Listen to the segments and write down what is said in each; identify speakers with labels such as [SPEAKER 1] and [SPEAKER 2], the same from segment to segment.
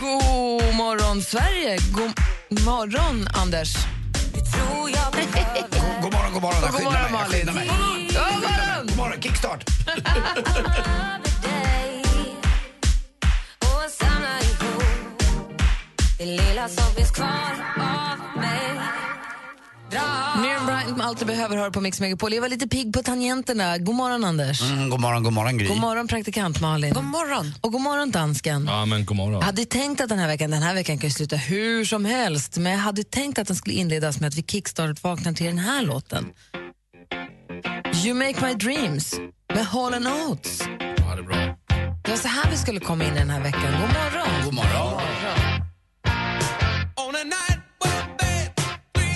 [SPEAKER 1] God morgon, Sverige! God morgon, Anders.
[SPEAKER 2] God morgon, god morgon.
[SPEAKER 1] Och god morgon, Malin.
[SPEAKER 2] God morgon.
[SPEAKER 1] God morgon!
[SPEAKER 2] God morgon, kickstart.
[SPEAKER 1] Miriam Bryant med Allt du behöver hör på Mix Megapol. Jag var lite pigg på tangenterna. God morgon, Anders.
[SPEAKER 2] Mm, god morgon, god morgon, Gry.
[SPEAKER 1] God morgon, praktikant Malin. God morgon. Och god morgon, dansken.
[SPEAKER 3] Ja, men god morgon.
[SPEAKER 1] Jag hade tänkt att den här veckan, den här veckan kan ju sluta hur som helst, men jag hade tänkt att den skulle inledas med att vi kickstart-vaknar till den här låten. You make my dreams med Hall and Oates.
[SPEAKER 3] Ja, det är bra.
[SPEAKER 1] Det var så här vi skulle komma in i den här veckan. God morgon!
[SPEAKER 2] God morgon.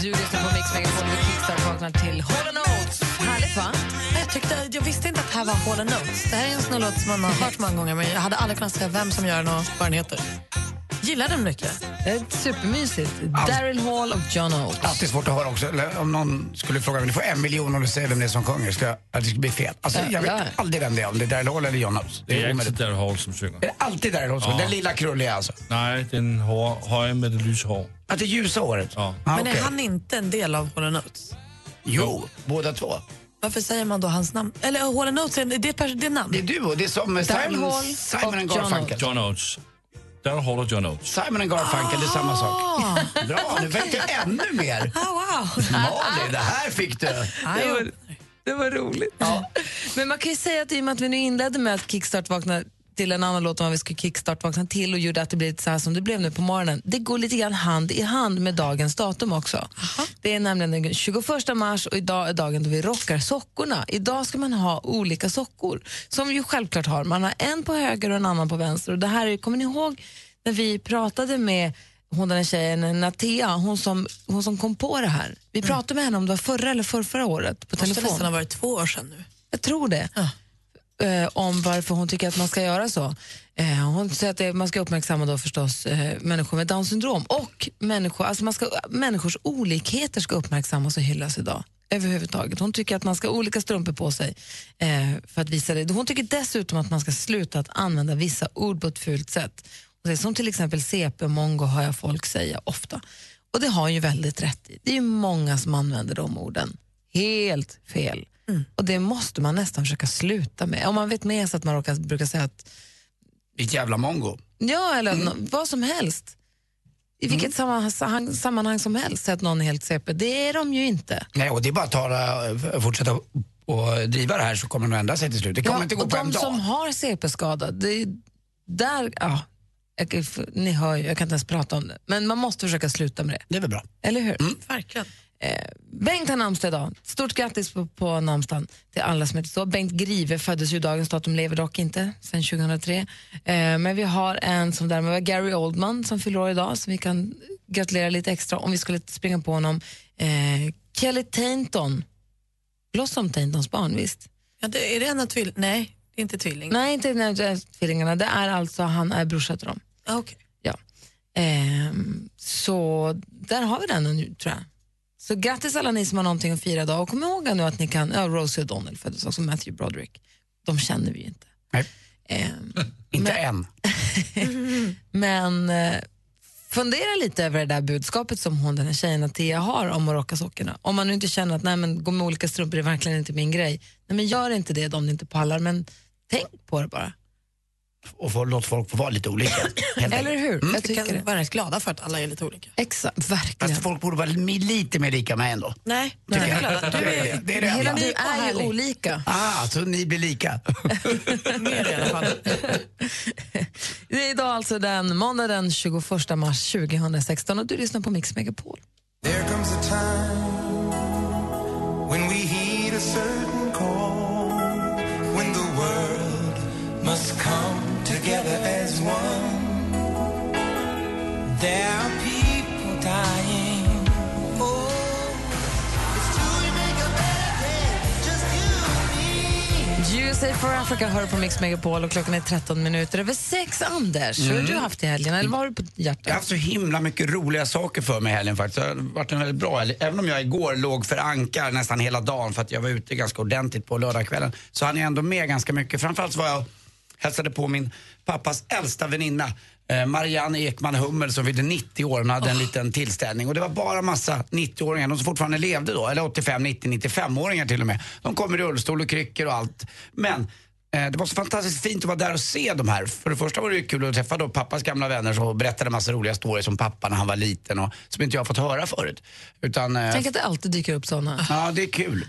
[SPEAKER 1] Du lyssnar på Mix Megapol och Kickstart vaknar till Hall and Oates. Härligt va?
[SPEAKER 4] Jag, tyckte, jag visste inte att det här var Hall Notes. Det här är en sån här låt som man har hört många gånger men jag hade aldrig kunnat säga vem som gör den och vad den heter. Gillar den mycket.
[SPEAKER 1] Det är supermysigt. Daryl Hall och John Oates.
[SPEAKER 2] Alltid svårt att höra också. Eller Om någon skulle fråga, du får en miljon om du säger vem det är som sjunger, ska jag, att det skulle bli fel. Alltså, jag vet
[SPEAKER 1] ja.
[SPEAKER 2] aldrig vem det är, om det är Daryl Hall eller John Oates. Det
[SPEAKER 3] Det
[SPEAKER 2] är
[SPEAKER 3] är inte
[SPEAKER 2] omöjligt.
[SPEAKER 3] där Hall som sjunger.
[SPEAKER 2] Är det alltid Daryl Hall som
[SPEAKER 3] Ja.
[SPEAKER 2] Den lilla krulliga alltså.
[SPEAKER 3] Nej, den hår, höga med det lysa hår.
[SPEAKER 2] Att det ljusa håret?
[SPEAKER 3] Ja.
[SPEAKER 2] Ah,
[SPEAKER 4] Men är
[SPEAKER 2] okej.
[SPEAKER 4] han inte en del av Hall Notes?
[SPEAKER 2] Jo, båda två.
[SPEAKER 4] Varför säger man då hans namn? Eller Hall Notes, är det, pers- det är namn?
[SPEAKER 2] Det är du och det är som eh,
[SPEAKER 1] Daryl Hall
[SPEAKER 2] Simon,
[SPEAKER 1] och
[SPEAKER 2] Simon and
[SPEAKER 1] John
[SPEAKER 2] Garfunkel.
[SPEAKER 3] John Oates. Där Hall och John Oates.
[SPEAKER 2] Simon and Garfunkel, det är samma sak.
[SPEAKER 1] Ah.
[SPEAKER 2] Bra, nu väckte jag ännu mer.
[SPEAKER 4] Ah, wow.
[SPEAKER 2] Malin, det här fick du.
[SPEAKER 4] Ah,
[SPEAKER 1] Det
[SPEAKER 4] ja.
[SPEAKER 1] var, det var roligt. Men man kan ju säga att i och med att vi nu inledde med att Kickstart vakna till en annan låt om vad vi skulle kickstart vakna till och gjorde att det blev så här som det blev nu på morgonen. Det går lite grann hand i hand med dagens datum också. Det är nämligen den 21 mars och idag är dagen då vi rockar sockorna. Idag ska man ha olika sockor som ju självklart har. Man har en på höger och en annan på vänster och det här är, kommer ni ihåg när vi pratade med hon den här tjejen, Natea, hon som, hon som kom på det här. Vi pratade med henne om det var förra eller förrförra året på
[SPEAKER 4] måste
[SPEAKER 1] telefon.
[SPEAKER 4] nästan ha varit två år sedan nu.
[SPEAKER 1] Jag tror det. Eh, om varför hon tycker att man ska göra så. Eh, hon säger att det, man ska uppmärksamma då förstås eh, människor med Downs syndrom och människor, alltså man ska, människors olikheter ska uppmärksammas och hyllas idag. Överhuvudtaget. Hon tycker att man ska ha olika strumpor på sig eh, för att visa det. Hon tycker dessutom att man ska sluta att använda vissa ord på ett fult sätt. Hon säger, Som till exempel CP-mongo hör jag folk säga ofta. Och det har hon ju väldigt rätt i. Det är ju många som använder de orden. Helt fel.
[SPEAKER 2] Mm.
[SPEAKER 1] Och det måste man nästan försöka sluta med. Om man vet med sig att man råkar, brukar säga att
[SPEAKER 2] Ditt jävla mongo.
[SPEAKER 1] Ja, eller nå-
[SPEAKER 2] Mm.
[SPEAKER 1] vad som helst. I vilket sammanhang, sammanhang som helst, att någon är helt CP. Det är de ju inte.
[SPEAKER 2] Nej, och det är bara att ta, fortsätta och driva det här så kommer det att ändra sig till slut. Det kommer inte gå
[SPEAKER 1] och
[SPEAKER 2] på
[SPEAKER 1] de
[SPEAKER 2] en dag.
[SPEAKER 1] som har CP-skada, det är där... Ja, jag, kan- f- ni hör ju, jag kan inte ens prata om det. Men man måste försöka sluta med
[SPEAKER 2] Det är väl bra.
[SPEAKER 1] det, eller hur? Eh,
[SPEAKER 4] Verkligen.
[SPEAKER 1] Bengt har namnsdag idag. Stort grattis på, på namnsdagen till alla som heter så. Bengt Grive föddes ju i dagens datum, lever dock inte sedan 2003. Eh, men vi har en som därmed var Gary Oldman som fyller år idag som vi kan gratulera lite extra om vi skulle springa på honom. Eh, Kelly Tainton, Blossom Taintons barn, visst?
[SPEAKER 4] Ja, det, är det en av tvilling? Nej, det är inte tvilling.
[SPEAKER 1] Nej, inte nej, det är tvillingarna. Det är alltså, han är brorsa till dem.
[SPEAKER 4] Ah, okej.
[SPEAKER 1] Ja. Ehm, så där har vi den nu, tror jag. Så grattis alla ni som har någonting att fira idag. Och kom ihåg nu att ni kan, ja, Rosie O'Donnell föddes också, Matthew Broderick. De känner vi ju inte.
[SPEAKER 2] Nej,
[SPEAKER 1] Ehm,
[SPEAKER 2] inte än.
[SPEAKER 1] men eh, fundera lite över det där budskapet som hon, den här tjejen Natia har om att rocka sockorna. Om man nu inte känner att nej, men, gå med olika strumpor är verkligen inte min grej. Nej, men gör inte det om ni inte pallar, men tänk på det bara.
[SPEAKER 2] Och få, låt folk få vara lite olika. helt
[SPEAKER 1] Eller
[SPEAKER 2] enkelt. Mm.
[SPEAKER 1] hur? Jag
[SPEAKER 4] Vi
[SPEAKER 1] tycker
[SPEAKER 4] kan
[SPEAKER 1] det.
[SPEAKER 4] vara rätt glada för att alla är lite olika.
[SPEAKER 1] Exakt, verkligen.
[SPEAKER 2] Fast folk borde vara mi- lite mer lika mig ändå.
[SPEAKER 4] Nej,
[SPEAKER 2] Tycker
[SPEAKER 4] nej.
[SPEAKER 2] jag.
[SPEAKER 4] glada. Du
[SPEAKER 2] Det
[SPEAKER 4] är
[SPEAKER 2] är- det är det
[SPEAKER 1] Hela
[SPEAKER 2] enda.
[SPEAKER 1] ni
[SPEAKER 4] och
[SPEAKER 1] är ju
[SPEAKER 4] härlig.
[SPEAKER 1] olika.
[SPEAKER 2] Ah, så ni blir lika.
[SPEAKER 4] mer i alla fall.
[SPEAKER 1] Det är idag alltså den måndag den 21 mars 2016 och du lyssnar på Mix Megapol.
[SPEAKER 5] There comes a time when we heed a certain call, when the world must come together as as one. There are people dying. Oh, it's true we make a better day, just you and me.
[SPEAKER 1] USA for Africa hör på Mix Megapol och klockan är 13 minuter över sex. Anders, hur har du haft i helgen? Eller vad har du på
[SPEAKER 2] Jag har
[SPEAKER 1] hjärtat?
[SPEAKER 2] haft så himla mycket roliga saker för mig i helgen faktiskt. Det har varit en väldigt bra helg. Även om jag igår låg för ankar nästan hela dagen för att jag var ute ganska ordentligt på lördagskvällen så hann jag ändå med ganska mycket. Framförallt så var jag och hälsade på min pappas äldsta väninna eh, Marianne Ekman Hummel som fyllde 90 år. Hon hade en liten tillställning och det var bara massa 90-åringar, de som fortfarande levde då, eller 85, 90, 95-åringar till och med. De kom i rullstol och kryckor och allt. Men Eh, Det var så fantastiskt fint att vara där och se de här. För det första var det ju kul att träffa då pappas gamla vänner som berättade massa roliga stories om pappa när han var liten och som inte jag har fått höra förut. Utan, eh,
[SPEAKER 1] Tänk att det alltid dyker upp såna.
[SPEAKER 2] ja, det är kul.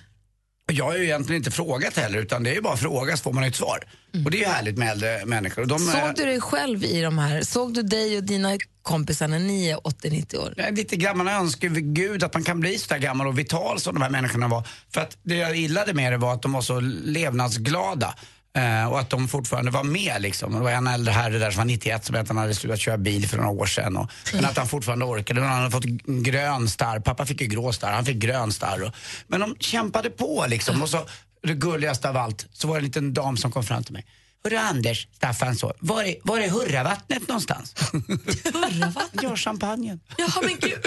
[SPEAKER 2] Och Jag har ju egentligen inte frågat heller utan det är ju bara fråga så får man ett svar. Och det är ju härligt med äldre människor. Och de, eh,
[SPEAKER 1] Såg Mm. du dig själv i de här? Såg du dig och dina kompisar när ni är 80-90 år?
[SPEAKER 2] Jag är lite grann, man önskar ju vid gud att man kan bli så där gammal och vital som de här människorna var. För att det jag gillade med det var att de var så levnadsglada. eh, och att de fortfarande var med liksom. Och Det var en äldre herre där som var 91 som berättade att han hade slutat köra bil för några år sedan. Och, men att han fortfarande orkade. Och Han hade fått g- grön starr. Pappa fick ju grå starr, han fick grön starr. Och, men de kämpade på liksom. Och så, det gulligaste av allt, så var det en liten dam som kom fram till mig. Hörru Anders, Staffan, så, var är, var är hurravattnet någonstans? Hurravattnet? ja, champagnen.
[SPEAKER 4] Jaha, men gud.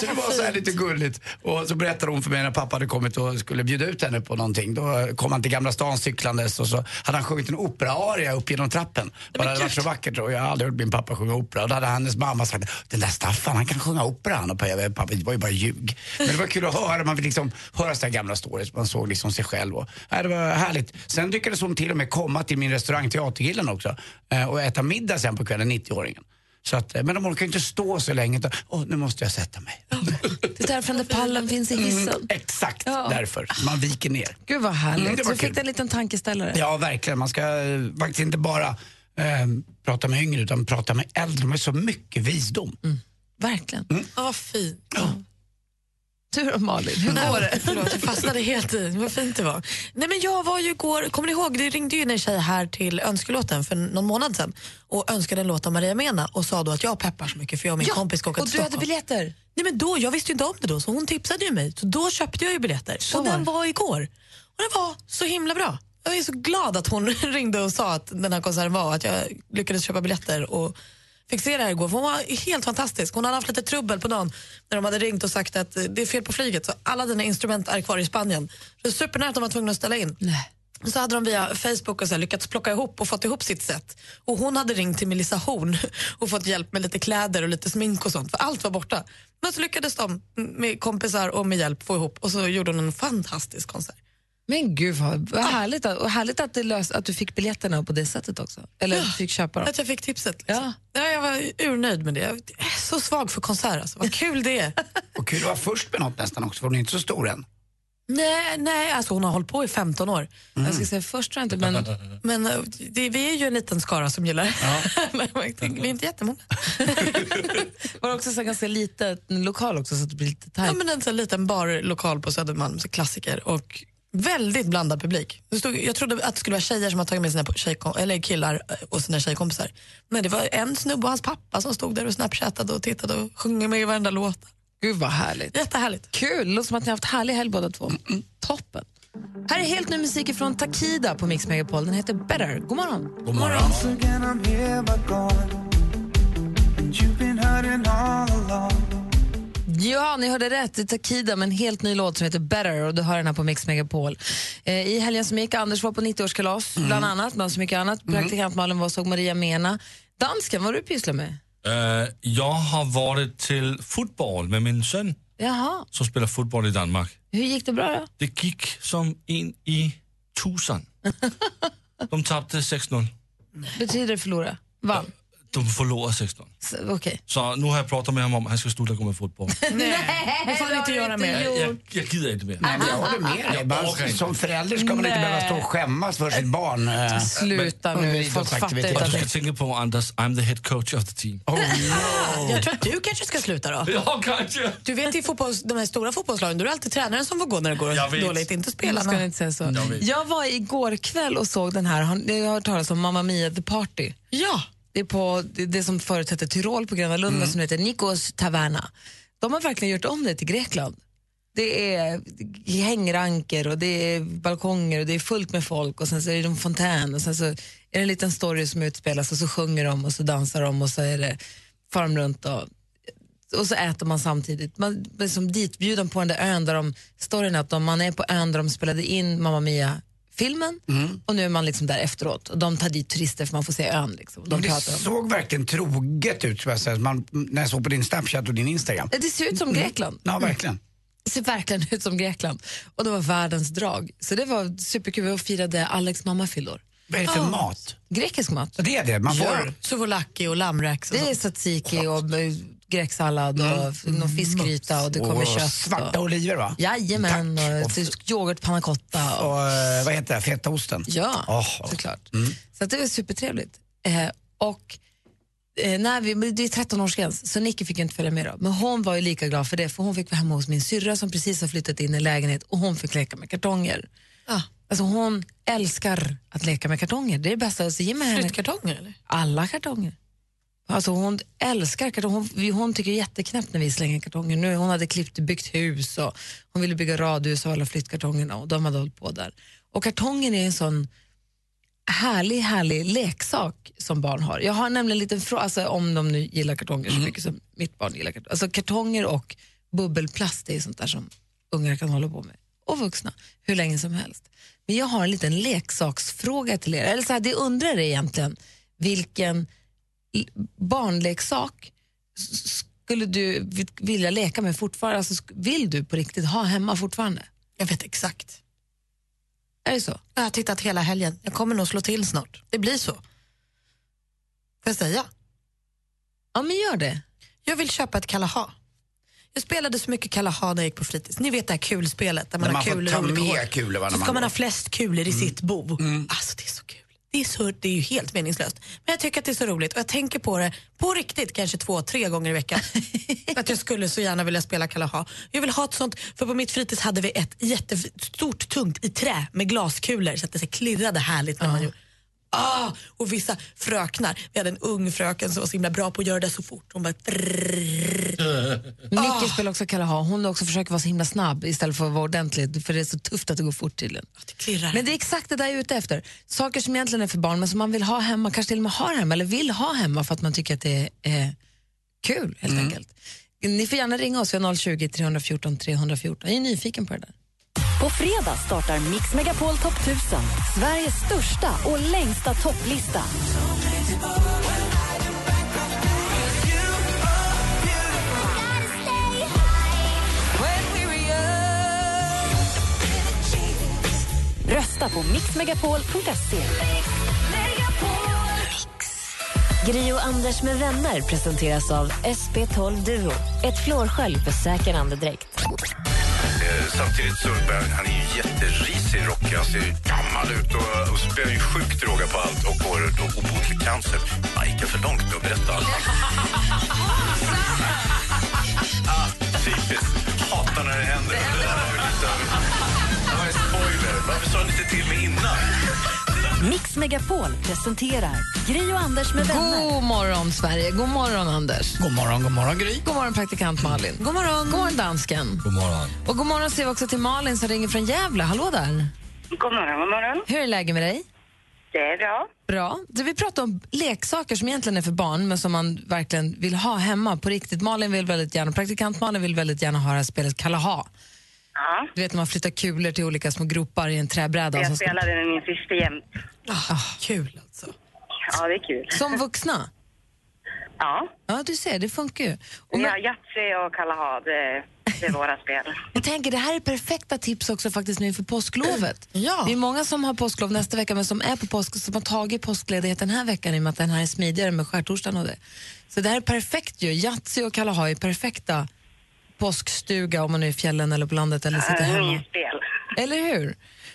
[SPEAKER 2] Så det var så här lite gulligt. Och så berättade hon för mig när pappa hade kommit och skulle bjuda ut henne på någonting. Då kom han till Gamla stan cyklandes och så hade han sjungit en operaaria upp genom trappen. Bara det var så vackert och jag har aldrig hört min pappa sjunga opera. Och då hade hennes mamma sagt, den där Staffan han kan sjunga opera han. Och pappa, det var ju bara ljug. Men det var kul att höra, man fick liksom höra sådana gamla stories. Man såg liksom sig själv. Och, nej, det var härligt. Sen lyckades hon till och med komma till min restaurang Teatergillen också. eh, Och äta middag sen på kvällen, 90-åringen. Så att, eh, men de orkar ju inte stå så länge. utan, Åh, nu måste jag sätta mig.
[SPEAKER 1] Det är därför den där pallen finns i hissen.
[SPEAKER 2] Exakt
[SPEAKER 1] Ja.
[SPEAKER 2] därför. Man viker ner.
[SPEAKER 1] Gud vad
[SPEAKER 2] Mm,
[SPEAKER 1] härligt.
[SPEAKER 2] det
[SPEAKER 1] Så
[SPEAKER 2] var
[SPEAKER 1] fick
[SPEAKER 2] kul.
[SPEAKER 1] du en liten tankeställare.
[SPEAKER 2] Ja, verkligen. Man ska eh, faktiskt inte bara eh, prata med yngre utan prata med äldre. De har ju så mycket visdom.
[SPEAKER 1] Mm. Verkligen.
[SPEAKER 4] Ja, Ah, vad fint.
[SPEAKER 1] Tur om Malin. Hur går det?
[SPEAKER 4] Nej, Förlåt, jag fastnade helt i. Vad fint det var. Nej, men jag var ju igår, kommer ni ihåg, det ringde ju en tjej här till önskelåten för någon månad sedan och önskade en låt av Maria Mena och sa då att jag peppar så mycket för jag och min kompis ska åka
[SPEAKER 1] och
[SPEAKER 4] till
[SPEAKER 1] du hade
[SPEAKER 4] Stockholm.
[SPEAKER 1] biljetter?
[SPEAKER 4] Nej, men då, jag visste ju inte om det då, så hon tipsade ju mig. Så då köpte jag ju biljetter. och
[SPEAKER 1] var
[SPEAKER 4] den
[SPEAKER 1] det.
[SPEAKER 4] var igår. Och den var så himla bra. Jag är så glad att hon ringde och sa att den här konserten var och att jag lyckades köpa biljetter och fick se det här igår. För hon var helt fantastisk. Hon hade haft lite trubbel på dagen när de hade ringt och sagt att eh, det är fel på flyget så alla dina instrument är kvar i Spanien. Så det är supernära att de var tvungna att ställa in. Så hade de via Facebook och så här lyckats plocka ihop och fått ihop sitt sätt. Och hon hade ringt till Melissa Horn och fått hjälp med lite kläder och lite smink och sånt, för allt var borta. Men så lyckades de med kompisar och med hjälp få ihop och så gjorde hon en fantastisk konsert.
[SPEAKER 1] Men gud vad, vad härligt, att- och härligt att, det lös, att du fick biljetterna på det sättet också. Eller fick köpa dem.
[SPEAKER 4] Att jag fick tipset. Liksom.
[SPEAKER 1] Ja.
[SPEAKER 4] Ja. jag var urnöjd med det. Jag är så svag för konserter, alltså. vad kul det är.
[SPEAKER 2] Och kul att vara först med något nästan också, för hon är inte så stor än.
[SPEAKER 4] nej, nej, alltså hon har hållit på i 15 år.
[SPEAKER 1] Jag ska säga först tror jag inte, men
[SPEAKER 4] Men eh, det, vi är ju en liten skara som gillar ja. Vi är inte jättemånga.
[SPEAKER 1] var det också så här ganska litet en lokal också så att det blir lite
[SPEAKER 4] Ja,
[SPEAKER 1] tajt.
[SPEAKER 4] men en sån liten barlokal på Södermalm, så klassiker. Och väldigt blandad publik. Det stod, jag trodde att det skulle vara tjejer som hade tagit med sina tjejkom- eller killar eh, och sina tjejkompisar. Men det var en snubbe och hans pappa som stod där och snapchattade och tittade och sjöng med i varenda låt.
[SPEAKER 1] Gud vad härligt.
[SPEAKER 4] Jättehärligt.
[SPEAKER 1] Kul, låter som att ni har haft härlig helg båda två. Toppen. Här är helt ny musik från Takida på Mix Megapol. Den heter Better. God morgon.
[SPEAKER 3] God morgon.
[SPEAKER 5] Once again, I'm here but gone. And you've been hurting all along.
[SPEAKER 1] Ja, ni hörde rätt. Det är Takida med en helt ny låt som heter Better och du hör den här på Mix Megapol. Eh, I helgen som gick, Anders var på 90-årskalas bland annat, bland så mycket annat. Praktikant Malin var och såg Maria Mena. Dansken, vad har du pysslar med?
[SPEAKER 3] Eh, jag har varit till fotboll med min son
[SPEAKER 1] Jaha,
[SPEAKER 3] som spelar fotboll i Danmark.
[SPEAKER 1] hur gick det bra då?
[SPEAKER 3] Det gick som en i tusen. De tappade 6-0.
[SPEAKER 1] Betyder det förlora? Vann?
[SPEAKER 3] De förlorar 16.
[SPEAKER 1] Så, Okej.
[SPEAKER 3] Så nu har jag pratat med honom om att han ska sluta gå med fotboll.
[SPEAKER 1] Nej,
[SPEAKER 4] det får han inte göra mer.
[SPEAKER 3] jag, jag, jag gider inte mer.
[SPEAKER 2] Nej, men jag håller med dig.
[SPEAKER 3] orkar
[SPEAKER 2] Man,
[SPEAKER 3] inte.
[SPEAKER 2] som förälder ska man inte
[SPEAKER 1] Nej.
[SPEAKER 2] behöva stå och skämmas för sitt barn. eh.
[SPEAKER 1] Sluta nu, folk fattar inte
[SPEAKER 3] Du
[SPEAKER 1] att
[SPEAKER 3] ska tänka på Anders, I'm the head coach of the team.
[SPEAKER 2] Oh, no.
[SPEAKER 4] Jag tror att du kanske ska sluta då.
[SPEAKER 3] Ja, kanske.
[SPEAKER 4] Du vet i fotbolls, de här stora fotbollslagen, då är det alltid tränaren som får gå när det
[SPEAKER 3] Jag
[SPEAKER 4] går
[SPEAKER 3] vet.
[SPEAKER 4] dåligt, inte
[SPEAKER 1] Jag
[SPEAKER 4] spelarna.
[SPEAKER 1] ska inte säga så. Jag var igår kväll och såg den här, har ni har hört talas om Mamma Mia The Party?
[SPEAKER 4] Ja,
[SPEAKER 1] Det är på det, det som förut hette Tyrol på Gröna Lund men som nu heter Nikos Taverna. De har verkligen gjort om det till Grekland. Det är hängranker och det är balkonger och det är fullt med folk och sen så är det en fontän och sen så är det en liten story som utspelas och så sjunger de och så dansar de och så är det far de runt och, och så äter man samtidigt. Man blir som ditbjuden på den där ön där de, storyn är att de, man är på ön där de spelade in Mamma Mia-filmen
[SPEAKER 2] Mm.
[SPEAKER 1] och nu är man liksom där efteråt och de tar dit turister för man får se ön. Liksom. De
[SPEAKER 2] Men Det
[SPEAKER 1] pratar om.
[SPEAKER 2] såg verkligen troget ut som jag säger. Man, när jag såg på din Snapchat och din Instagram.
[SPEAKER 1] Det ser ut
[SPEAKER 2] Mm.
[SPEAKER 1] som Grekland.
[SPEAKER 2] Ja, verkligen.
[SPEAKER 1] Det ser verkligen ut som Grekland. Och det var världens drag. Så det var superkul. Vi firade Alex mamma fyllor.
[SPEAKER 2] Vad är det för mat?
[SPEAKER 1] Grekisk mat.
[SPEAKER 2] Så det är det. Man får...
[SPEAKER 4] souvlaki och lammräks och
[SPEAKER 1] Det är
[SPEAKER 4] sånt.
[SPEAKER 1] tzatziki och eh, greksallad och f- någon fiskgryta och det kommer
[SPEAKER 2] och
[SPEAKER 1] kött.
[SPEAKER 2] svarta
[SPEAKER 1] och,
[SPEAKER 2] oliver va?
[SPEAKER 1] jajamän,
[SPEAKER 2] Tack.
[SPEAKER 1] och tysk yoghurt panna cotta. Och,
[SPEAKER 2] Och, eh, vad heter det? Fetaosten?
[SPEAKER 1] ja, Mm.
[SPEAKER 2] Åh.
[SPEAKER 1] såklart. Så att det var supertrevligt. Eh, och eh, när vi, men det är 13-årsgräns, så Nicky fick inte följa med. Då. Men hon var ju lika glad för det, för hon fick vara hemma hos min syrra som precis har flyttat in i lägenhet och hon fick leka med kartonger.
[SPEAKER 4] Ah,
[SPEAKER 1] Alltså hon älskar att leka med kartonger. Det är det bästa. Alltså, ge mig henne
[SPEAKER 4] Flyttkartonger eller?
[SPEAKER 1] alla kartonger. Alltså hon älskar kartonger. Hon, vi- hon tycker det är jätteknäppt när vi slänger kartonger. Nu, hon hade klippt byggt hus och hon ville bygga radhus av alla flyttkartongerna och de hade hållit på där. Och kartongen är en sån härlig, härlig leksak som barn har. Jag har nämligen en liten fråga, alltså, om de nu gillar kartonger så mycket som mitt barn gillar kartonger. Alltså kartonger och bubbelplast det är sånt där som ungar kan hålla på med. Och vuxna, hur länge som helst. Men jag har en liten leksaksfråga till er. Eller så här, det jag undrar är egentligen, vilken l- barnleksak s- skulle du vi- vilja leka med fortfarande? Alltså, sk- vill du på riktigt ha hemma fortfarande?
[SPEAKER 4] Jag vet exakt.
[SPEAKER 1] Är det så?
[SPEAKER 4] Jag har tittat hela helgen. Jag kommer nog slå till snart. Det blir så. Får jag säga?
[SPEAKER 1] Ja, men gör det.
[SPEAKER 4] Jag vill köpa ett Kalaha. Jag spelade så mycket Kalaha när jag gick på fritids. Ni vet det här kulspelet där man,
[SPEAKER 2] Där man
[SPEAKER 4] har
[SPEAKER 2] får
[SPEAKER 4] kulor
[SPEAKER 2] ta
[SPEAKER 4] i olika
[SPEAKER 2] med
[SPEAKER 4] hål.
[SPEAKER 2] kulor, va, när
[SPEAKER 4] Så ska
[SPEAKER 2] man
[SPEAKER 4] man
[SPEAKER 2] går. Mm.
[SPEAKER 4] ha flest kulor i sitt bo. Alltså det är så kul. Det är, så, det är ju helt meningslöst. Men jag tycker att det är så roligt och jag tänker på det på riktigt kanske två, tre gånger i veckan. att jag skulle så gärna vilja spela Kalaha. Jag vill ha ett sånt, för på mitt fritids hade vi ett jättestort tungt i trä med glaskulor så att det så klirrade härligt när man gjorde. Ah, och vissa fröknar. Vi hade en ung fröken som var så himla bra på att göra det så fort. Hon bara...
[SPEAKER 1] Nicky spelar också Kalaha. Hon också försöker vara så himla snabb istället för att vara ordentlig. För det är så tufft att det går fort tydligen.
[SPEAKER 4] Det klirrar.
[SPEAKER 1] Men det är exakt det där jag är ute efter. Saker som egentligen är för barn men som man vill ha hemma, kanske till och med har hemma eller vill ha hemma för att man tycker att det är eh, kul helt enkelt. Ni får gärna ringa oss, vi har 020 314 314. Jag är nyfiken på det där.
[SPEAKER 6] På fredag startar Mix Megapol Top 1000. Sveriges största och längsta topplista. Rösta på mixmegapol.se. Gri och Anders med vänner presenteras av SP12 Duo. Ett flårskölj för säker andedräkt.
[SPEAKER 7] Samtidigt så bär han är ju jätterisig, rockig, han ser ju gammal ut och, och spär ju sjukt till råga på allt och har då obotlig cancer. Han gick för långt med att berätta allt. ah, typiskt. Hatar när det händer. Det där var ju lite av en- det var en spoiler. Varför sa ni inte till mig innan?
[SPEAKER 6] Mix Megapol presenterar Gri och Anders med vänner.
[SPEAKER 1] God morgon Sverige, god morgon Anders.
[SPEAKER 2] God morgon, god morgon Gry.
[SPEAKER 1] God morgon praktikant Malin. God morgon. God morgon dansken.
[SPEAKER 3] God morgon.
[SPEAKER 1] Och god morgon säger vi också till Malin som ringer från Gävle. Hallå där.
[SPEAKER 8] God morgon, god morgon.
[SPEAKER 1] Hur är läget med dig?
[SPEAKER 8] Det är bra.
[SPEAKER 1] Bra. Du, vi pratar om leksaker som egentligen är för barn men som man verkligen vill ha hemma på riktigt. Malin vill väldigt gärna, praktikant Malin vill väldigt gärna ha det här spelet Kalaha.
[SPEAKER 8] Ja.
[SPEAKER 1] Du vet när man flyttar kulor till olika små gropar i en träbräda.
[SPEAKER 8] Jag
[SPEAKER 1] som ska-
[SPEAKER 8] spelar den med min syster jämt.
[SPEAKER 1] Ah,
[SPEAKER 4] Kul alltså.
[SPEAKER 8] Ja, det är kul.
[SPEAKER 1] Som vuxna?
[SPEAKER 8] Ja,
[SPEAKER 1] Ja, du ser, det funkar ju. Och
[SPEAKER 8] vi
[SPEAKER 1] men,
[SPEAKER 8] har Yatzy och Kalaha. Det, bevara spel.
[SPEAKER 1] Jag tänker, det här är perfekta tips också faktiskt nu inför påsklovet. Ja. Det är många som har påsklov nästa vecka men som är på påsk som har tagit påskledighet den här veckan i och med att den här är smidigare med skärtorsdagen och det. Så det här är perfekt ju. Yatzy och Kalahai är perfekta påskstuga om man är i fjällen eller på landet eller sitter
[SPEAKER 8] Äh,
[SPEAKER 1] hemma.
[SPEAKER 8] Spel.
[SPEAKER 1] Eller hur?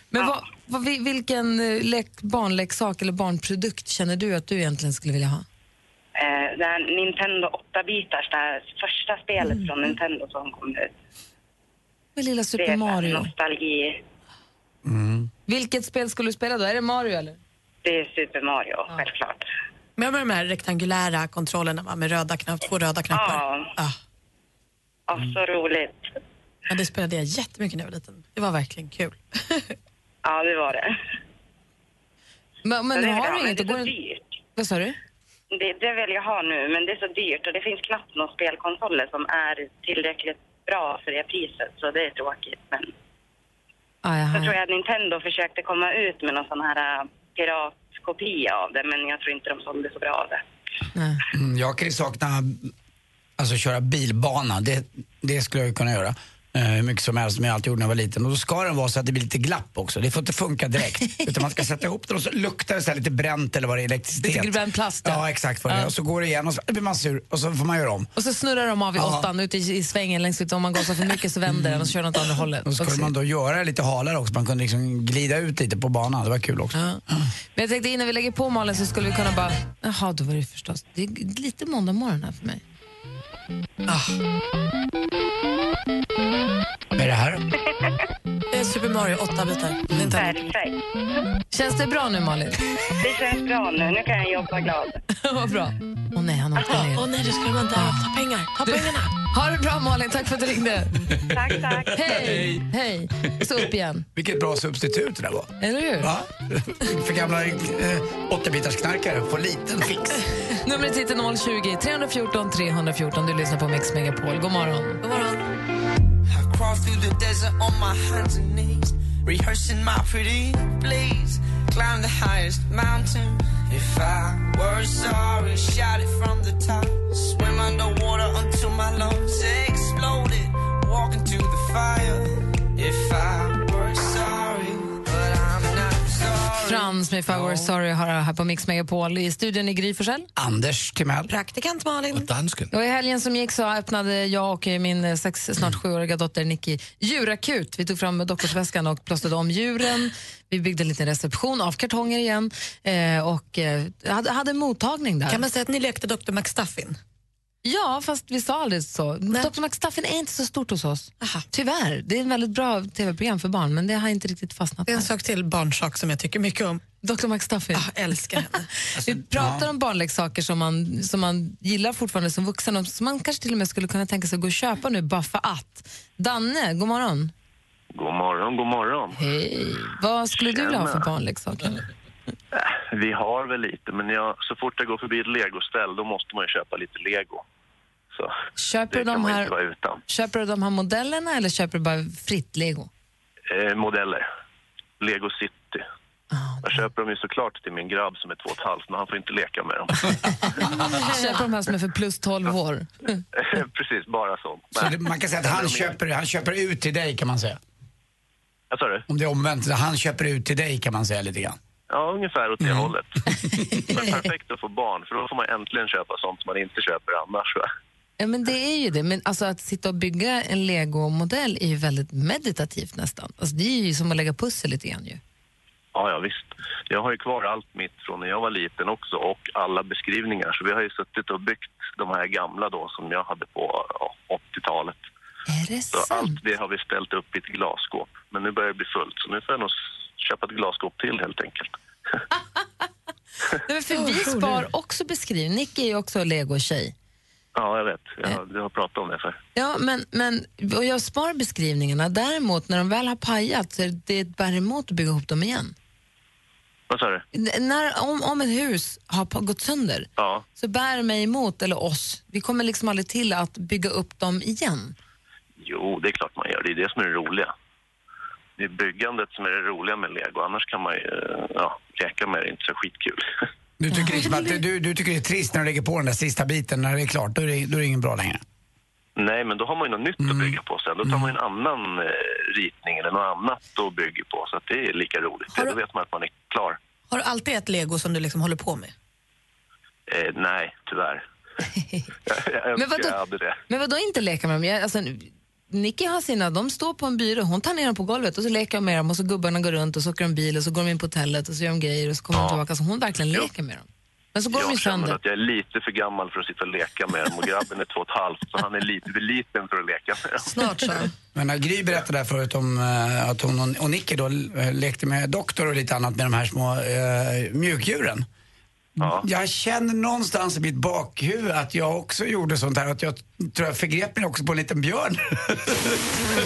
[SPEAKER 1] Men vad, vad, vi- vilken eh, lek, barnleksak eller barnprodukt känner du att du egentligen skulle vilja ha?
[SPEAKER 8] Eh, det här Nintendo 8-bitars, det här första spelet från Nintendo som kom ut.
[SPEAKER 1] Med lilla
[SPEAKER 8] det
[SPEAKER 1] Super
[SPEAKER 8] är så här
[SPEAKER 1] Mario.
[SPEAKER 8] nostalgi.
[SPEAKER 1] Vilket spel skulle du spela då? Är det Mario eller?
[SPEAKER 8] Det är Super Mario, självklart.
[SPEAKER 4] Men med de här rektangulära kontrollerna va, med röda knapp, två röda knappar. Mm.
[SPEAKER 8] Ja. Ja, så roligt.
[SPEAKER 4] Ja, det spelade jag jättemycket när jag var liten. Det var verkligen kul.
[SPEAKER 8] Ja, det var det.
[SPEAKER 1] Men, men
[SPEAKER 8] det är
[SPEAKER 1] har
[SPEAKER 8] bra,
[SPEAKER 1] du inget?
[SPEAKER 8] Det
[SPEAKER 1] Det
[SPEAKER 8] är så
[SPEAKER 1] går...
[SPEAKER 8] dyrt.
[SPEAKER 1] Vad sa du?
[SPEAKER 8] Det, det vill jag ha nu, men det är så dyrt och det finns knappt några spelkonsoler som är tillräckligt bra för det priset, så det är tråkigt. Men
[SPEAKER 1] Ah,
[SPEAKER 8] så
[SPEAKER 1] jaha.
[SPEAKER 8] tror jag att Nintendo försökte komma ut med någon sån här äh, piratkopia av det, men jag tror inte de sålde så bra av det.
[SPEAKER 2] Mm, jag kan ju sakna, alltså köra bilbana, det, det skulle jag ju kunna göra. Eh, Hur mycket som helst som jag alltid gjorde när jag var liten. Och då ska den vara så att det blir lite glapp också. Det får inte funka direkt. utan man ska sätta ihop den och så luktar det så här lite bränt eller vad det är, elektricitet.
[SPEAKER 1] Lite grön plast, ja.
[SPEAKER 2] Ja, exakt vad det
[SPEAKER 1] Ja.
[SPEAKER 2] är. Och så går det igen och så blir man sur och så får man göra om.
[SPEAKER 1] Och så snurrar de av i
[SPEAKER 2] Ja.
[SPEAKER 1] åttan ute i, i svängen längst ut. Om man gasar för mycket så vänder den och så kör den åt andra hållet.
[SPEAKER 2] Och så skulle
[SPEAKER 1] Också.
[SPEAKER 2] man då göra det lite halare också. Man kunde liksom glida ut lite på banan. Det var kul också.
[SPEAKER 1] Men jag tänkte innan vi lägger på Malin så skulle vi kunna bara... Jaha, då var det förstås. Det är g- lite måndag morgon här för mig.
[SPEAKER 2] Vad är det här?
[SPEAKER 4] Det är Super Mario, åtta bitar.
[SPEAKER 8] Perfekt.
[SPEAKER 1] Känns det bra nu Malin?
[SPEAKER 8] Det känns bra nu. Nu kan jag jobba glad.
[SPEAKER 1] Vad bra. Åh nej, han åkte ner.
[SPEAKER 4] Åh nej, det skulle man inte ha. Ta pengar, ta pengarna.
[SPEAKER 1] Ha det bra Malin, tack för att du ringde.
[SPEAKER 8] Tack, tack.
[SPEAKER 1] Hej! Hej! Och så upp igen.
[SPEAKER 2] Vilket bra substitut det där var.
[SPEAKER 1] Eller hur?
[SPEAKER 2] Va? För gamla eh, 8-bitarsknarkare, få liten fix.
[SPEAKER 1] Numret hit är 020 314 314. Du lyssnar på Mix Megapol. God morgon.
[SPEAKER 4] God morgon.
[SPEAKER 5] I crawl through the desert on my hands and knees, rehearsing my pretty please. Climb the highest mountain. If I were sorry, shout it from the top. Swim underwater until my lungs exploded. Walk into the fire. If I were sorry, but I'm not sorry.
[SPEAKER 1] Frans med If I Were Sorry har jag här på Mix Megapol. I studion i Gry Forssell.
[SPEAKER 2] Anders Timell.
[SPEAKER 4] Praktikant Malin.
[SPEAKER 9] Dansken.
[SPEAKER 1] Och I helgen som gick så öppnade jag och min eh, sex, snart
[SPEAKER 4] Mm.
[SPEAKER 1] sjuåriga dotter Nicky djurakut. Vi tog fram doktorsväskan och plåstrade om djuren. Vi byggde en liten reception av kartonger igen eh, och eh, hade, hade en mottagning där.
[SPEAKER 4] Kan man säga att ni lekte Dr. McStuffin?
[SPEAKER 1] Ja, fast vi sa aldrig så. Dr. McStuffin är inte så stort hos oss. Tyvärr. Det är ett väldigt bra tv-program för barn, men det har inte riktigt fastnat.
[SPEAKER 4] Det är en sak till barnsak som jag tycker mycket om.
[SPEAKER 1] Dr. McStuffin.
[SPEAKER 4] Jag älskar henne.
[SPEAKER 1] Vi pratar om barnleksaker som man, som man gillar fortfarande som vuxen och som man kanske till och med skulle kunna tänka sig att gå och köpa nu bara för att. Danne, god morgon.
[SPEAKER 10] God morgon, god morgon.
[SPEAKER 1] Hej. Vad skulle du vilja ha för barnleksak?
[SPEAKER 10] Vi har väl lite, men jag, så fort jag går förbi ett legoställ då måste man ju köpa lite lego. Så
[SPEAKER 1] Köper
[SPEAKER 10] det
[SPEAKER 1] du,
[SPEAKER 10] kan
[SPEAKER 1] de
[SPEAKER 10] man inte
[SPEAKER 1] här,
[SPEAKER 10] vara utan.
[SPEAKER 1] köper du de här modellerna eller köper du bara fritt lego?
[SPEAKER 10] Eh, modeller. Lego City.
[SPEAKER 11] Ah,
[SPEAKER 10] Jag köper dem ju såklart till min grabb som är två och ett halvt, men han får inte leka med dem.
[SPEAKER 1] köper de här som är för plus 12 år?
[SPEAKER 10] Eh, Precis, bara sånt.
[SPEAKER 2] Så det, man kan säga att han köper, han köper ut till dig kan man säga.
[SPEAKER 10] Jag sa det?
[SPEAKER 2] Om det är omvänt, så han köper ut till dig kan man säga lite grann.
[SPEAKER 10] Ja, ungefär åt det hållet. Men perfekt att få barn, för då får man äntligen köpa sånt som man inte köper annars. Va?
[SPEAKER 1] Ja, men det är ju det. Men alltså, att sitta och bygga en legomodell är ju väldigt meditativt nästan. Alltså, det är ju som att lägga pussel lite grann ju.
[SPEAKER 10] Ja, ja, visst. Jag har ju kvar allt mitt från när jag var liten också och alla beskrivningar. Så vi har ju suttit och byggt de här gamla då som jag hade på ja, 80-talet.
[SPEAKER 1] Är det
[SPEAKER 10] Så allt det har vi ställt upp i ett glasskåp. Men nu börjar det bli fullt så nu får jag nog s- köpa ett glasskåp till helt enkelt.
[SPEAKER 1] Nej, men för vi spar också beskrivning. Nick är ju också legotjej.
[SPEAKER 10] Ja, jag vet. Jag, har- jag har pratat om det för.
[SPEAKER 1] Ja, men, men och jag spar beskrivningarna. Däremot när de väl har pajat så är det- det bär emot att bygga ihop dem igen.
[SPEAKER 10] Vad sa du?
[SPEAKER 1] N- när, om, om ett hus har pa- gått sönder
[SPEAKER 10] Ja.
[SPEAKER 1] så bär det mig emot, eller oss, vi kommer liksom aldrig till att bygga upp dem igen.
[SPEAKER 10] Jo, det är klart man gör. Det är det som är det roliga. Det är byggandet som är det roliga med lego. Annars kan man ju eh, ja, leka med det. Det är inte så skitkul.
[SPEAKER 2] Du tycker, liksom att, du, du tycker det är trist när du lägger på den där sista biten, när det är klart, då är det, då är det ingen bra längre.
[SPEAKER 1] Mm.
[SPEAKER 10] Nej, men då har man ju något nytt att bygga på sen Då tar man en annan eh, ritning eller något annat och bygger på. Så att det är lika roligt. Då vet man att man är klar.
[SPEAKER 4] Har du alltid ett lego som du liksom håller på med?
[SPEAKER 10] Eh, nej, tyvärr. jag jag
[SPEAKER 1] Men
[SPEAKER 10] önskar
[SPEAKER 1] vadå?
[SPEAKER 10] jag hade det.
[SPEAKER 1] Men vad då inte leka med dem? Jag, alltså, Nicky har sina, de står på en byrå, hon tar ner dem på golvet och så leker hon med dem och så gubbarna går runt och så åker de bil och så går de in på hotellet och så gör de grejer och så kommer de tillbaka. Så hon verkligen leker med dem. Men så går de ju
[SPEAKER 10] Jag känner
[SPEAKER 1] sönder.
[SPEAKER 10] att jag är lite för gammal för att sitta och leka med dem och grabben är två och ett halvt så han är lite för liten för att leka med dem.
[SPEAKER 4] Snart så.
[SPEAKER 2] Men när Gry berättade där förut om eh, att hon och- och Nicky då eh, lekte med doktor och lite annat med de här små eh, mjukdjuren. Jag känner någonstans i mitt bakhuvud att jag också gjorde sånt här. Att jag tror jag förgrep mig också på en liten björn.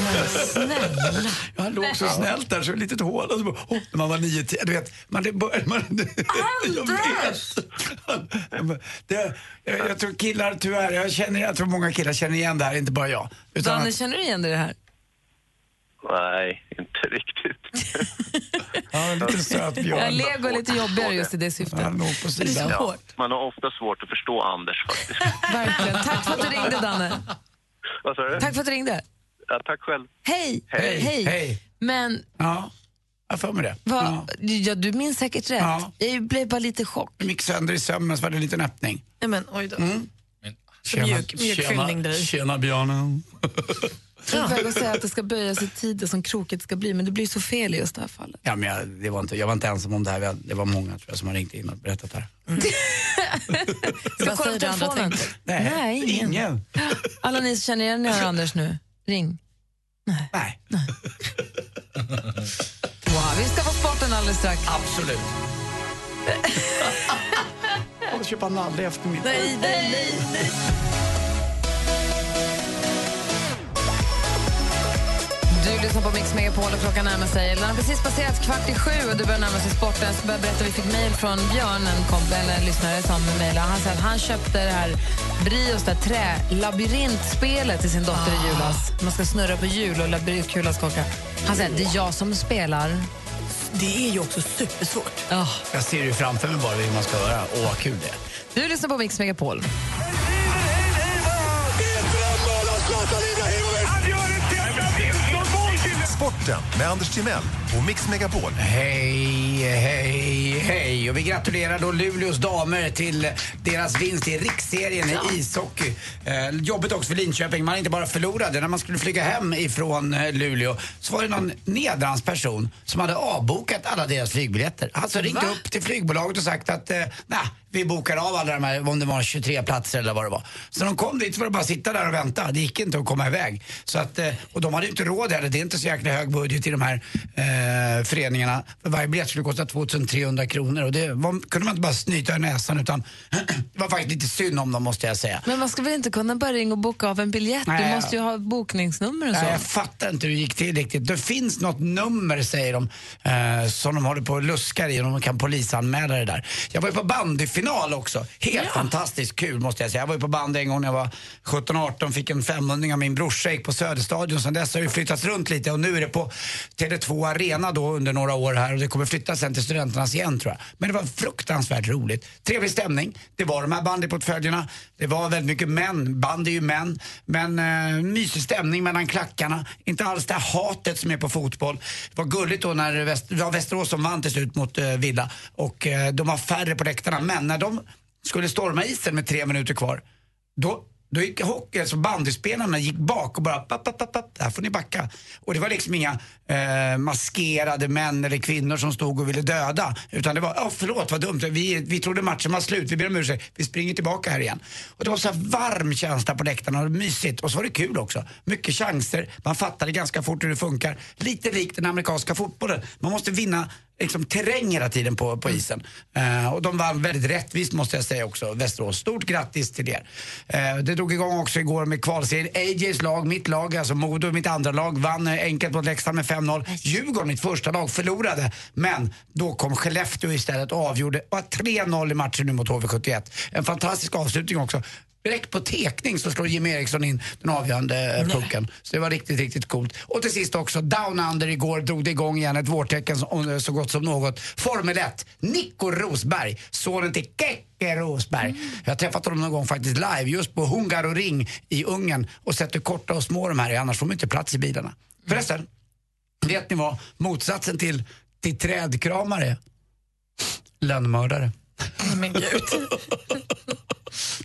[SPEAKER 4] Snälla.
[SPEAKER 2] Jag låg så snällt där så ett litet hål. Och så bara, oh, när man var nio, tio. Du vet, man, det börjar, man, jag vet. Det, jag, jag tror killar tyvärr, jag, känner, jag tror många killar känner igen det här, inte bara jag. Utan
[SPEAKER 1] Danne,
[SPEAKER 2] att-
[SPEAKER 1] känner du igen dig i det här?
[SPEAKER 10] Nej, inte riktigt.
[SPEAKER 2] ja, lite söt björn.
[SPEAKER 1] Ja, lego är lite jobbigare just i det syftet.
[SPEAKER 2] Det är så
[SPEAKER 10] Ja,
[SPEAKER 1] hårt.
[SPEAKER 10] man har ofta svårt att förstå Anders faktiskt.
[SPEAKER 1] Verkligen. Tack för att du ringde, Danne.
[SPEAKER 10] Vad sa du?
[SPEAKER 1] Tack för att du ringde.
[SPEAKER 10] Ja, tack själv.
[SPEAKER 1] Hej!
[SPEAKER 10] Hej. Hej.
[SPEAKER 1] Men,
[SPEAKER 2] Ja, jag har för mig det.
[SPEAKER 1] vad, ja. du minns säkert rätt.
[SPEAKER 2] Ja.
[SPEAKER 1] Jag blev bara lite chock.
[SPEAKER 2] De gick sönder i sömmen så var det en liten öppning.
[SPEAKER 4] Nej men oj då. mjuk- mjuk fyllning
[SPEAKER 3] tjena,
[SPEAKER 4] där i.
[SPEAKER 3] tjena björnen.
[SPEAKER 1] Jag var på väg att säga att det ska böjas i tiden som krokigt ska bli, men det blir så fel i just det här fallet.
[SPEAKER 2] Ja, men jag, det var inte, jag var inte ensam om det här. Vi hade- Det var många tror jag, som har ringt in och berättat det här.
[SPEAKER 1] Ska kolla på telefonen?
[SPEAKER 2] Nej,
[SPEAKER 1] ingen. Alla ni som känner igen er Anders nu, ring. Nej. Wow, vi ska få sporten alldeles strax.
[SPEAKER 2] Absolut. Jag måste köpa nalle i eftermiddag.
[SPEAKER 4] Nej, nej, nej, nej.
[SPEAKER 1] Du lyssnar på Mix Megapol och klockan närmar sig. Den har precis passerat kvart i sju och det börjar närma sig sporten. Så börjar jag berätta, vi fick mejl från Björn, en, komp- eller en lyssnare som mejlade. Han säger att han köpte det här Brios, det här trälabyrintspelet till sin dotter i julas. Man ska snurra på hjul och labyrintkulan ska åka. Han säger att det är jag som spelar.
[SPEAKER 4] Det är ju också supersvårt.
[SPEAKER 1] Ja.
[SPEAKER 2] Jag ser ju framför mig bara hur man ska höra. Åh, vad kul det är.
[SPEAKER 1] Du lyssnar på Mix Megapol.
[SPEAKER 9] Sporten med Anders Timell och Mix Megapol.
[SPEAKER 2] Hej, hej, hej. Och vi gratulerar då Luleås damer till deras vinst i riksserien i ishockey. Eh, jobbigt också för Linköping. Man inte bara förlorade. När man skulle flyga hem ifrån eh, Luleå så var det någon nedransperson som hade avbokat alla deras flygbiljetter. Alltså ringt upp till flygbolaget och sagt att eh, nej, vi bokar av alla de här, om det var 23 platser eller vad det var. Så de kom dit för att bara sitta där och vänta. Det gick inte att komma iväg. Så att, eh, och de hade ju inte råd heller. Det är inte så jäkla hög budget i de här eh, föreningarna. För varje biljett skulle kosta 2300 kronor och det var, kunde man inte bara snyta i näsan utan det var faktiskt lite synd om dem måste jag säga.
[SPEAKER 1] Men man ska väl inte kunna bara ringa och boka av en biljett?
[SPEAKER 2] Nej.
[SPEAKER 1] Du måste ju ha bokningsnummer och så.
[SPEAKER 2] Nej, jag fattar inte hur det gick till riktigt. Det finns något nummer, säger de, eh, som de håller på och luskar i och de kan polisanmäla det där. Jag var ju på bandyfinal också. Helt fantastiskt kul måste jag säga. Jag var ju på bandy en gång när jag var 17-18, fick en 500 av min brorsa, gick på Söderstadion. Sen dess har det ju flyttats runt lite och nu är det på Tele2 Arena då under några år här och det kommer flyttas sen till Studenternas igen tror jag. Men det var fruktansvärt roligt. Trevlig stämning. Det var de här bandyportföljerna. Det var väldigt mycket män. Bandy är ju män. Men eh, mysig stämning mellan klackarna. Inte alls det här hatet som är på fotboll. Det var gulligt då när Väst, det var Västerås som vann till slut mot eh, Villa och eh, de var färre på läktarna. Men när de skulle storma isen med tre minuter kvar, då då gick hockey, alltså bandyspelarna gick bak och bara papp, papp, papp, papp, här får ni backa. Och det var liksom inga eh, maskerade män eller kvinnor som stod och ville döda. Utan det var, oh, förlåt vad dumt, vi, vi trodde matchen var slut, vi ber om ursäkt, vi springer tillbaka här igen. Och det var så här varm känsla på läktarna och mysigt. Och så var det kul också. Mycket chanser, man fattade ganska fort hur det funkar. Lite likt den amerikanska fotbollen, man måste vinna liksom terräng hela tiden på, på isen. Eh, och de vann väldigt rättvist måste jag säga också, Västerås. Stort grattis till er. Eh, det drog igång också igår med kvalserien. AJs lag, mitt lag, alltså Modo, mitt andra lag, vann eh, enkelt mot Leksand med 5-0. Djurgården, mitt första lag, förlorade. Men då kom Skellefteå istället och avgjorde. Och 3-0 i matchen nu mot HV71. En fantastisk avslutning också. Direkt på tekning så slår Jim Eriksson in den avgörande eh, pucken. Så det var riktigt, riktigt coolt. Och till sist också, Down Under igår drog det igång igen ett vårtecken som, eh, så gott som något. Formel 1, Nico Rosberg, sonen till Keke Rosberg. Jag har träffat honom någon gång faktiskt live just på Hungaroring i Ungern och sett hur korta och små de här är, annars får de inte plats i bilarna. Förresten, vet ni vad motsatsen till, till trädkramare är? Lönnmördare.
[SPEAKER 4] Men gud.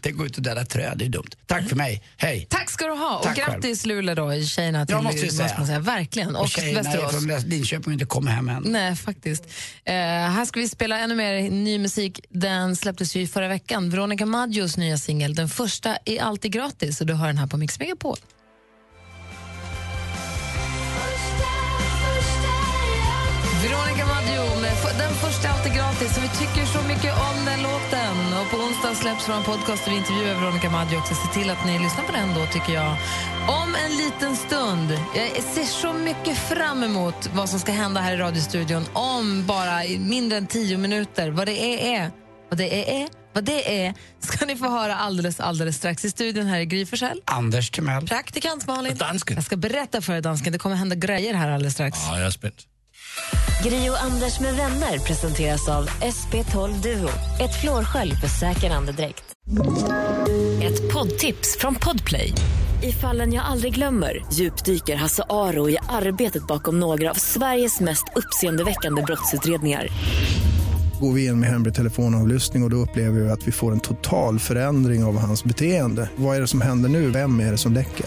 [SPEAKER 2] Tänk gå ut och döda träd, det är dumt. Tack för mig, hej.
[SPEAKER 1] Tack ska du ha och
[SPEAKER 2] Tack själv.
[SPEAKER 1] grattis Luleå då i tjejerna till
[SPEAKER 2] Jag måste ju
[SPEAKER 1] måste man
[SPEAKER 2] säga.
[SPEAKER 1] säga. Verkligen. Och,
[SPEAKER 2] tjejerna är
[SPEAKER 1] Västerås.
[SPEAKER 2] från Lä- Linköping och inte kommer hem än.
[SPEAKER 1] Nej, faktiskt. Eh, här ska vi spela ännu mer ny musik. Den släpptes ju i förra veckan. Veronica Maggios nya singel, den första, är alltid gratis. Och du hör den här på Mix Megapol. Veronica Maggio med f- Den första är alltid gratis. Så vi tycker så mycket om den låten. Och på onsdag släpps vår podcast där vi intervjuar Veronica Maggio också. Se till att ni lyssnar på den då, tycker jag. Om en liten stund. Jag ser så mycket fram emot vad som ska hända här i radiostudion om bara i mindre än tio minuter. Vad det är, är. Vad det är, är. Vad det är ska ni få höra alldeles, alldeles strax. I studion här i Gry Forssell.
[SPEAKER 2] Anders Timell.
[SPEAKER 1] Praktikant Malin.
[SPEAKER 3] Dansken.
[SPEAKER 1] Jag ska berätta för er, dansken. Det kommer hända grejer här alldeles strax.
[SPEAKER 3] Ja, jag är spänd.
[SPEAKER 6] Gri och Anders med vänner presenteras av SP12 Duo. Ett flårskölj för säker andedräkt. Ett poddtips från Podplay. I fallen jag aldrig glömmer djupdyker Hasse Aro i arbetet bakom några av Sveriges mest uppseendeväckande brottsutredningar.
[SPEAKER 12] Går vi in med hemlig telefonavlyssning och, och då upplever vi att vi får en total förändring av hans beteende. Vad är det som händer nu? Vem är det som läcker?